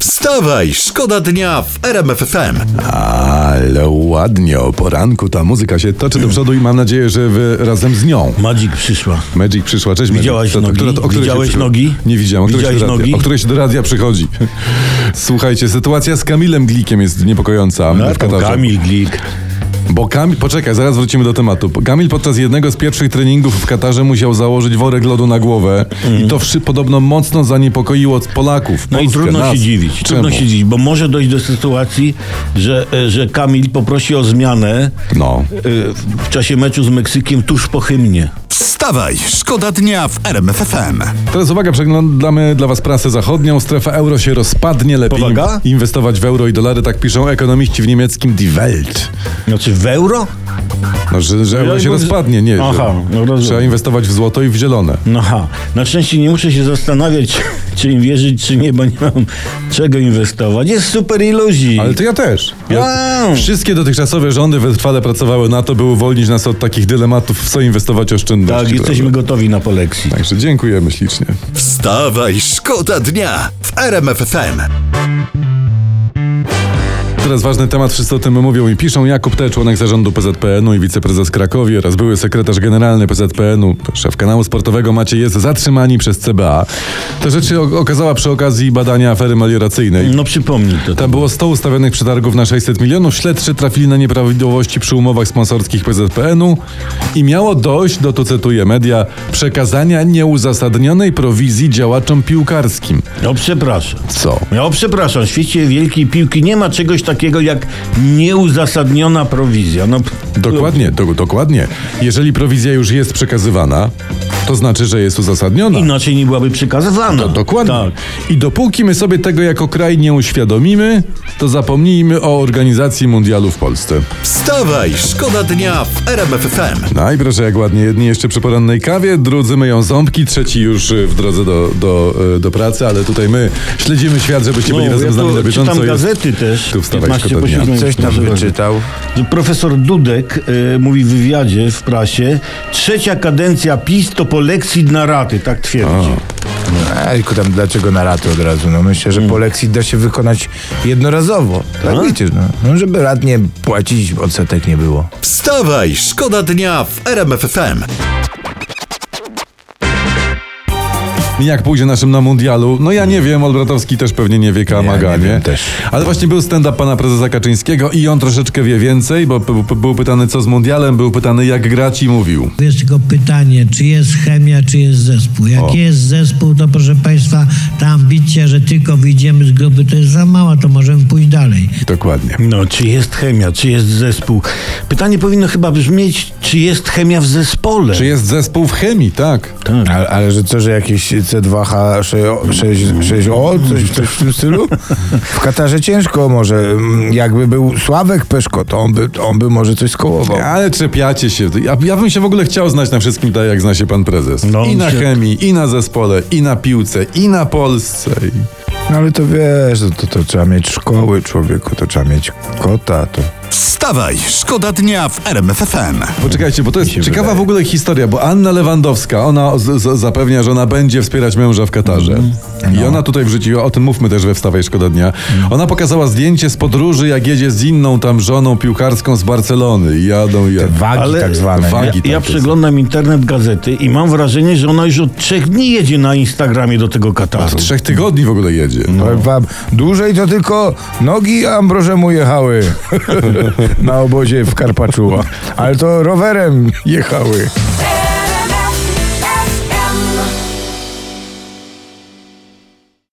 Wstawaj, szkoda dnia w RMF FM. Ale ładnie, o poranku ta muzyka się toczy do przodu i mam nadzieję, że wy razem z nią. Madzik przyszła. Magic przyszła, cześć Magic. Widziałaś To- to- nogi? to- o której Widziałeś się przy- nogi? Nie widziałem, o której, się do Widziałeś radia, nogi? o której się do radia przychodzi. Słuchajcie, sytuacja z Kamilem Glikiem jest niepokojąca w Katarze. No, Kamil Glik. Bo Kamil, poczekaj, zaraz wrócimy do tematu. Kamil podczas jednego z pierwszych treningów w Katarze musiał założyć worek lodu na głowę i to wszy, podobno mocno zaniepokoiło Polaków. No i Polskę, trudno nas. się Czemu? dziwić. Trudno się dziwić, bo może dojść do sytuacji, że, e, że Kamil poprosi o zmianę No. e, w czasie meczu z Meksykiem tuż po hymnie. Wstawaj, szkoda dnia w RMF FM. Teraz uwaga, przeglądamy dla Was prasę zachodnią. Strefa euro się rozpadnie, lepiej Powaga? im- inwestować w euro i dolary, tak piszą ekonomiści w niemieckim Die Welt. Znaczy w euro? No, że, że euro Ja się bym- rozpadnie, nie. że Aha, no rozumiem. Trzeba inwestować w złoto i w zielone. No ha. Na szczęście nie muszę się zastanawiać, czy im wierzyć, czy nie, bo nie mam czego inwestować. Jest super iluzji. Ale to ja też. Ja, Wow. Wszystkie dotychczasowe rządy wytrwale pracowały na to, by uwolnić nas od takich dylematów, w co inwestować oszczędności. Tak, jesteśmy gotowi na poleksję. Także dziękujemy ślicznie. Wstawaj, szkoda dnia w RMF FM. Teraz ważny temat, wszyscy o tym mówią i piszą. Jakub T., członek zarządu PZPN-u i wiceprezes Krakowi oraz były sekretarz generalny PZPN-u, szef kanału sportowego Maciej jest zatrzymani przez CBA. Te rzeczy o- okazała przy okazji badania afery melioracyjnej. No przypomnij to. Tam było 100 ustawionych przetargów na 600 milionów. Śledczy trafili na nieprawidłowości przy umowach sponsorskich PZPN-u i miało dojść do, to cytuję media, przekazania nieuzasadnionej prowizji działaczom piłkarskim. No przepraszam. Co? Ja przepraszam, w świecie wielkiej piłki nie ma czegoś takiego jak nieuzasadniona prowizja. No, p- Dokładnie, do, dokładnie. Jeżeli prowizja już jest przekazywana, to znaczy, że jest uzasadniona. Inaczej nie byłaby przekazywana. Dokładnie. no- Tak. I dopóki my sobie tego jako kraj nie uświadomimy, to zapomnijmy o organizacji mundialu w Polsce. Wstawaj, szkoda dnia w RMF FM. No i proszę, jak ładnie. Jedni jeszcze przy porannej kawie, drudzy myją ząbki, trzeci już y, w drodze do, do, y, do pracy, ale tutaj my śledzimy świat, żebyście byli razem No, ja z nami tu na bieżąco. Czytam Jest- gazety też. Tu wstawaj, szkoda po dnia. siódmej Coś tam wstawaj. wyczytał. Że Profesor Dudek y, mówi w wywiadzie w prasie, trzecia kadencja PiS to polexit na raty, tak twierdzi. No, tylko tam dlaczego na raty od razu? No myślę, że polexit da się wykonać jednorazowo. Tak wiecie, no. no żeby rat nie płacić, odsetek nie było. Wstawaj, szkoda dnia w RMF FM. I Jak pójdzie naszym na mundialu? No ja nie wiem, Olbratowski też pewnie nie wie, Kamaga, nie nie? wiem też. Ale właśnie był stand-up pana prezesa Kaczyńskiego i on troszeczkę wie więcej, bo p- p- był pytany co z mundialem, był pytany jak grać i mówił. Jest tylko pytanie, czy jest chemia, czy jest zespół. Jak jest zespół, to proszę Państwa, ta ambicja, że tylko wyjdziemy z grupy, to jest za mała, to możemy pójść dalej. Dokładnie. No, czy jest chemia, czy jest zespół? Pytanie powinno chyba brzmieć, czy jest chemia w zespole? Czy jest zespół w chemii, tak? Ale, ale że co, że jakieś C2H6O, coś, coś w tym stylu? W Katarze ciężko może. Mm, Jakby był Sławek Peszko, to on by, to on by może coś skołował. Ale czepiacie się. Ja, ja bym się w ogóle chciał znać na wszystkim, tak jak zna się pan prezes. No, I na się- chemii, i na zespole, i na piłce, i na Polsce. I... No ale to wiesz, to, to, to trzeba mieć szkoły człowieku, to trzeba mieć kota, to... Wstawaj, szkoda dnia w RMF FM. Poczekajcie, bo to jest się ciekawa wydaje. w ogóle historia, bo Anna Lewandowska, ona z, z, zapewnia, że ona będzie wspierać męża w Katarze. I ona tutaj wrzuciła, o tym mówmy też we Wstawaj Szkoda Dnia, ona pokazała zdjęcie z podróży, jak jedzie z inną tam żoną piłkarską z Barcelony. I Jadą, i jadą. Wagi Ale- tak zwane. nie? Wagi. Ja, tak ja jest. przeglądam internet gazety i mam wrażenie, że ona już od trzech dni jedzie na Instagramie do tego Kataru. Trzech tygodni w ogóle jedzie. Powiem wam, dłużej to tylko nogi Ambrożemu jechały na obozie w Karpaczuła. Ale to rowerem jechały. RMF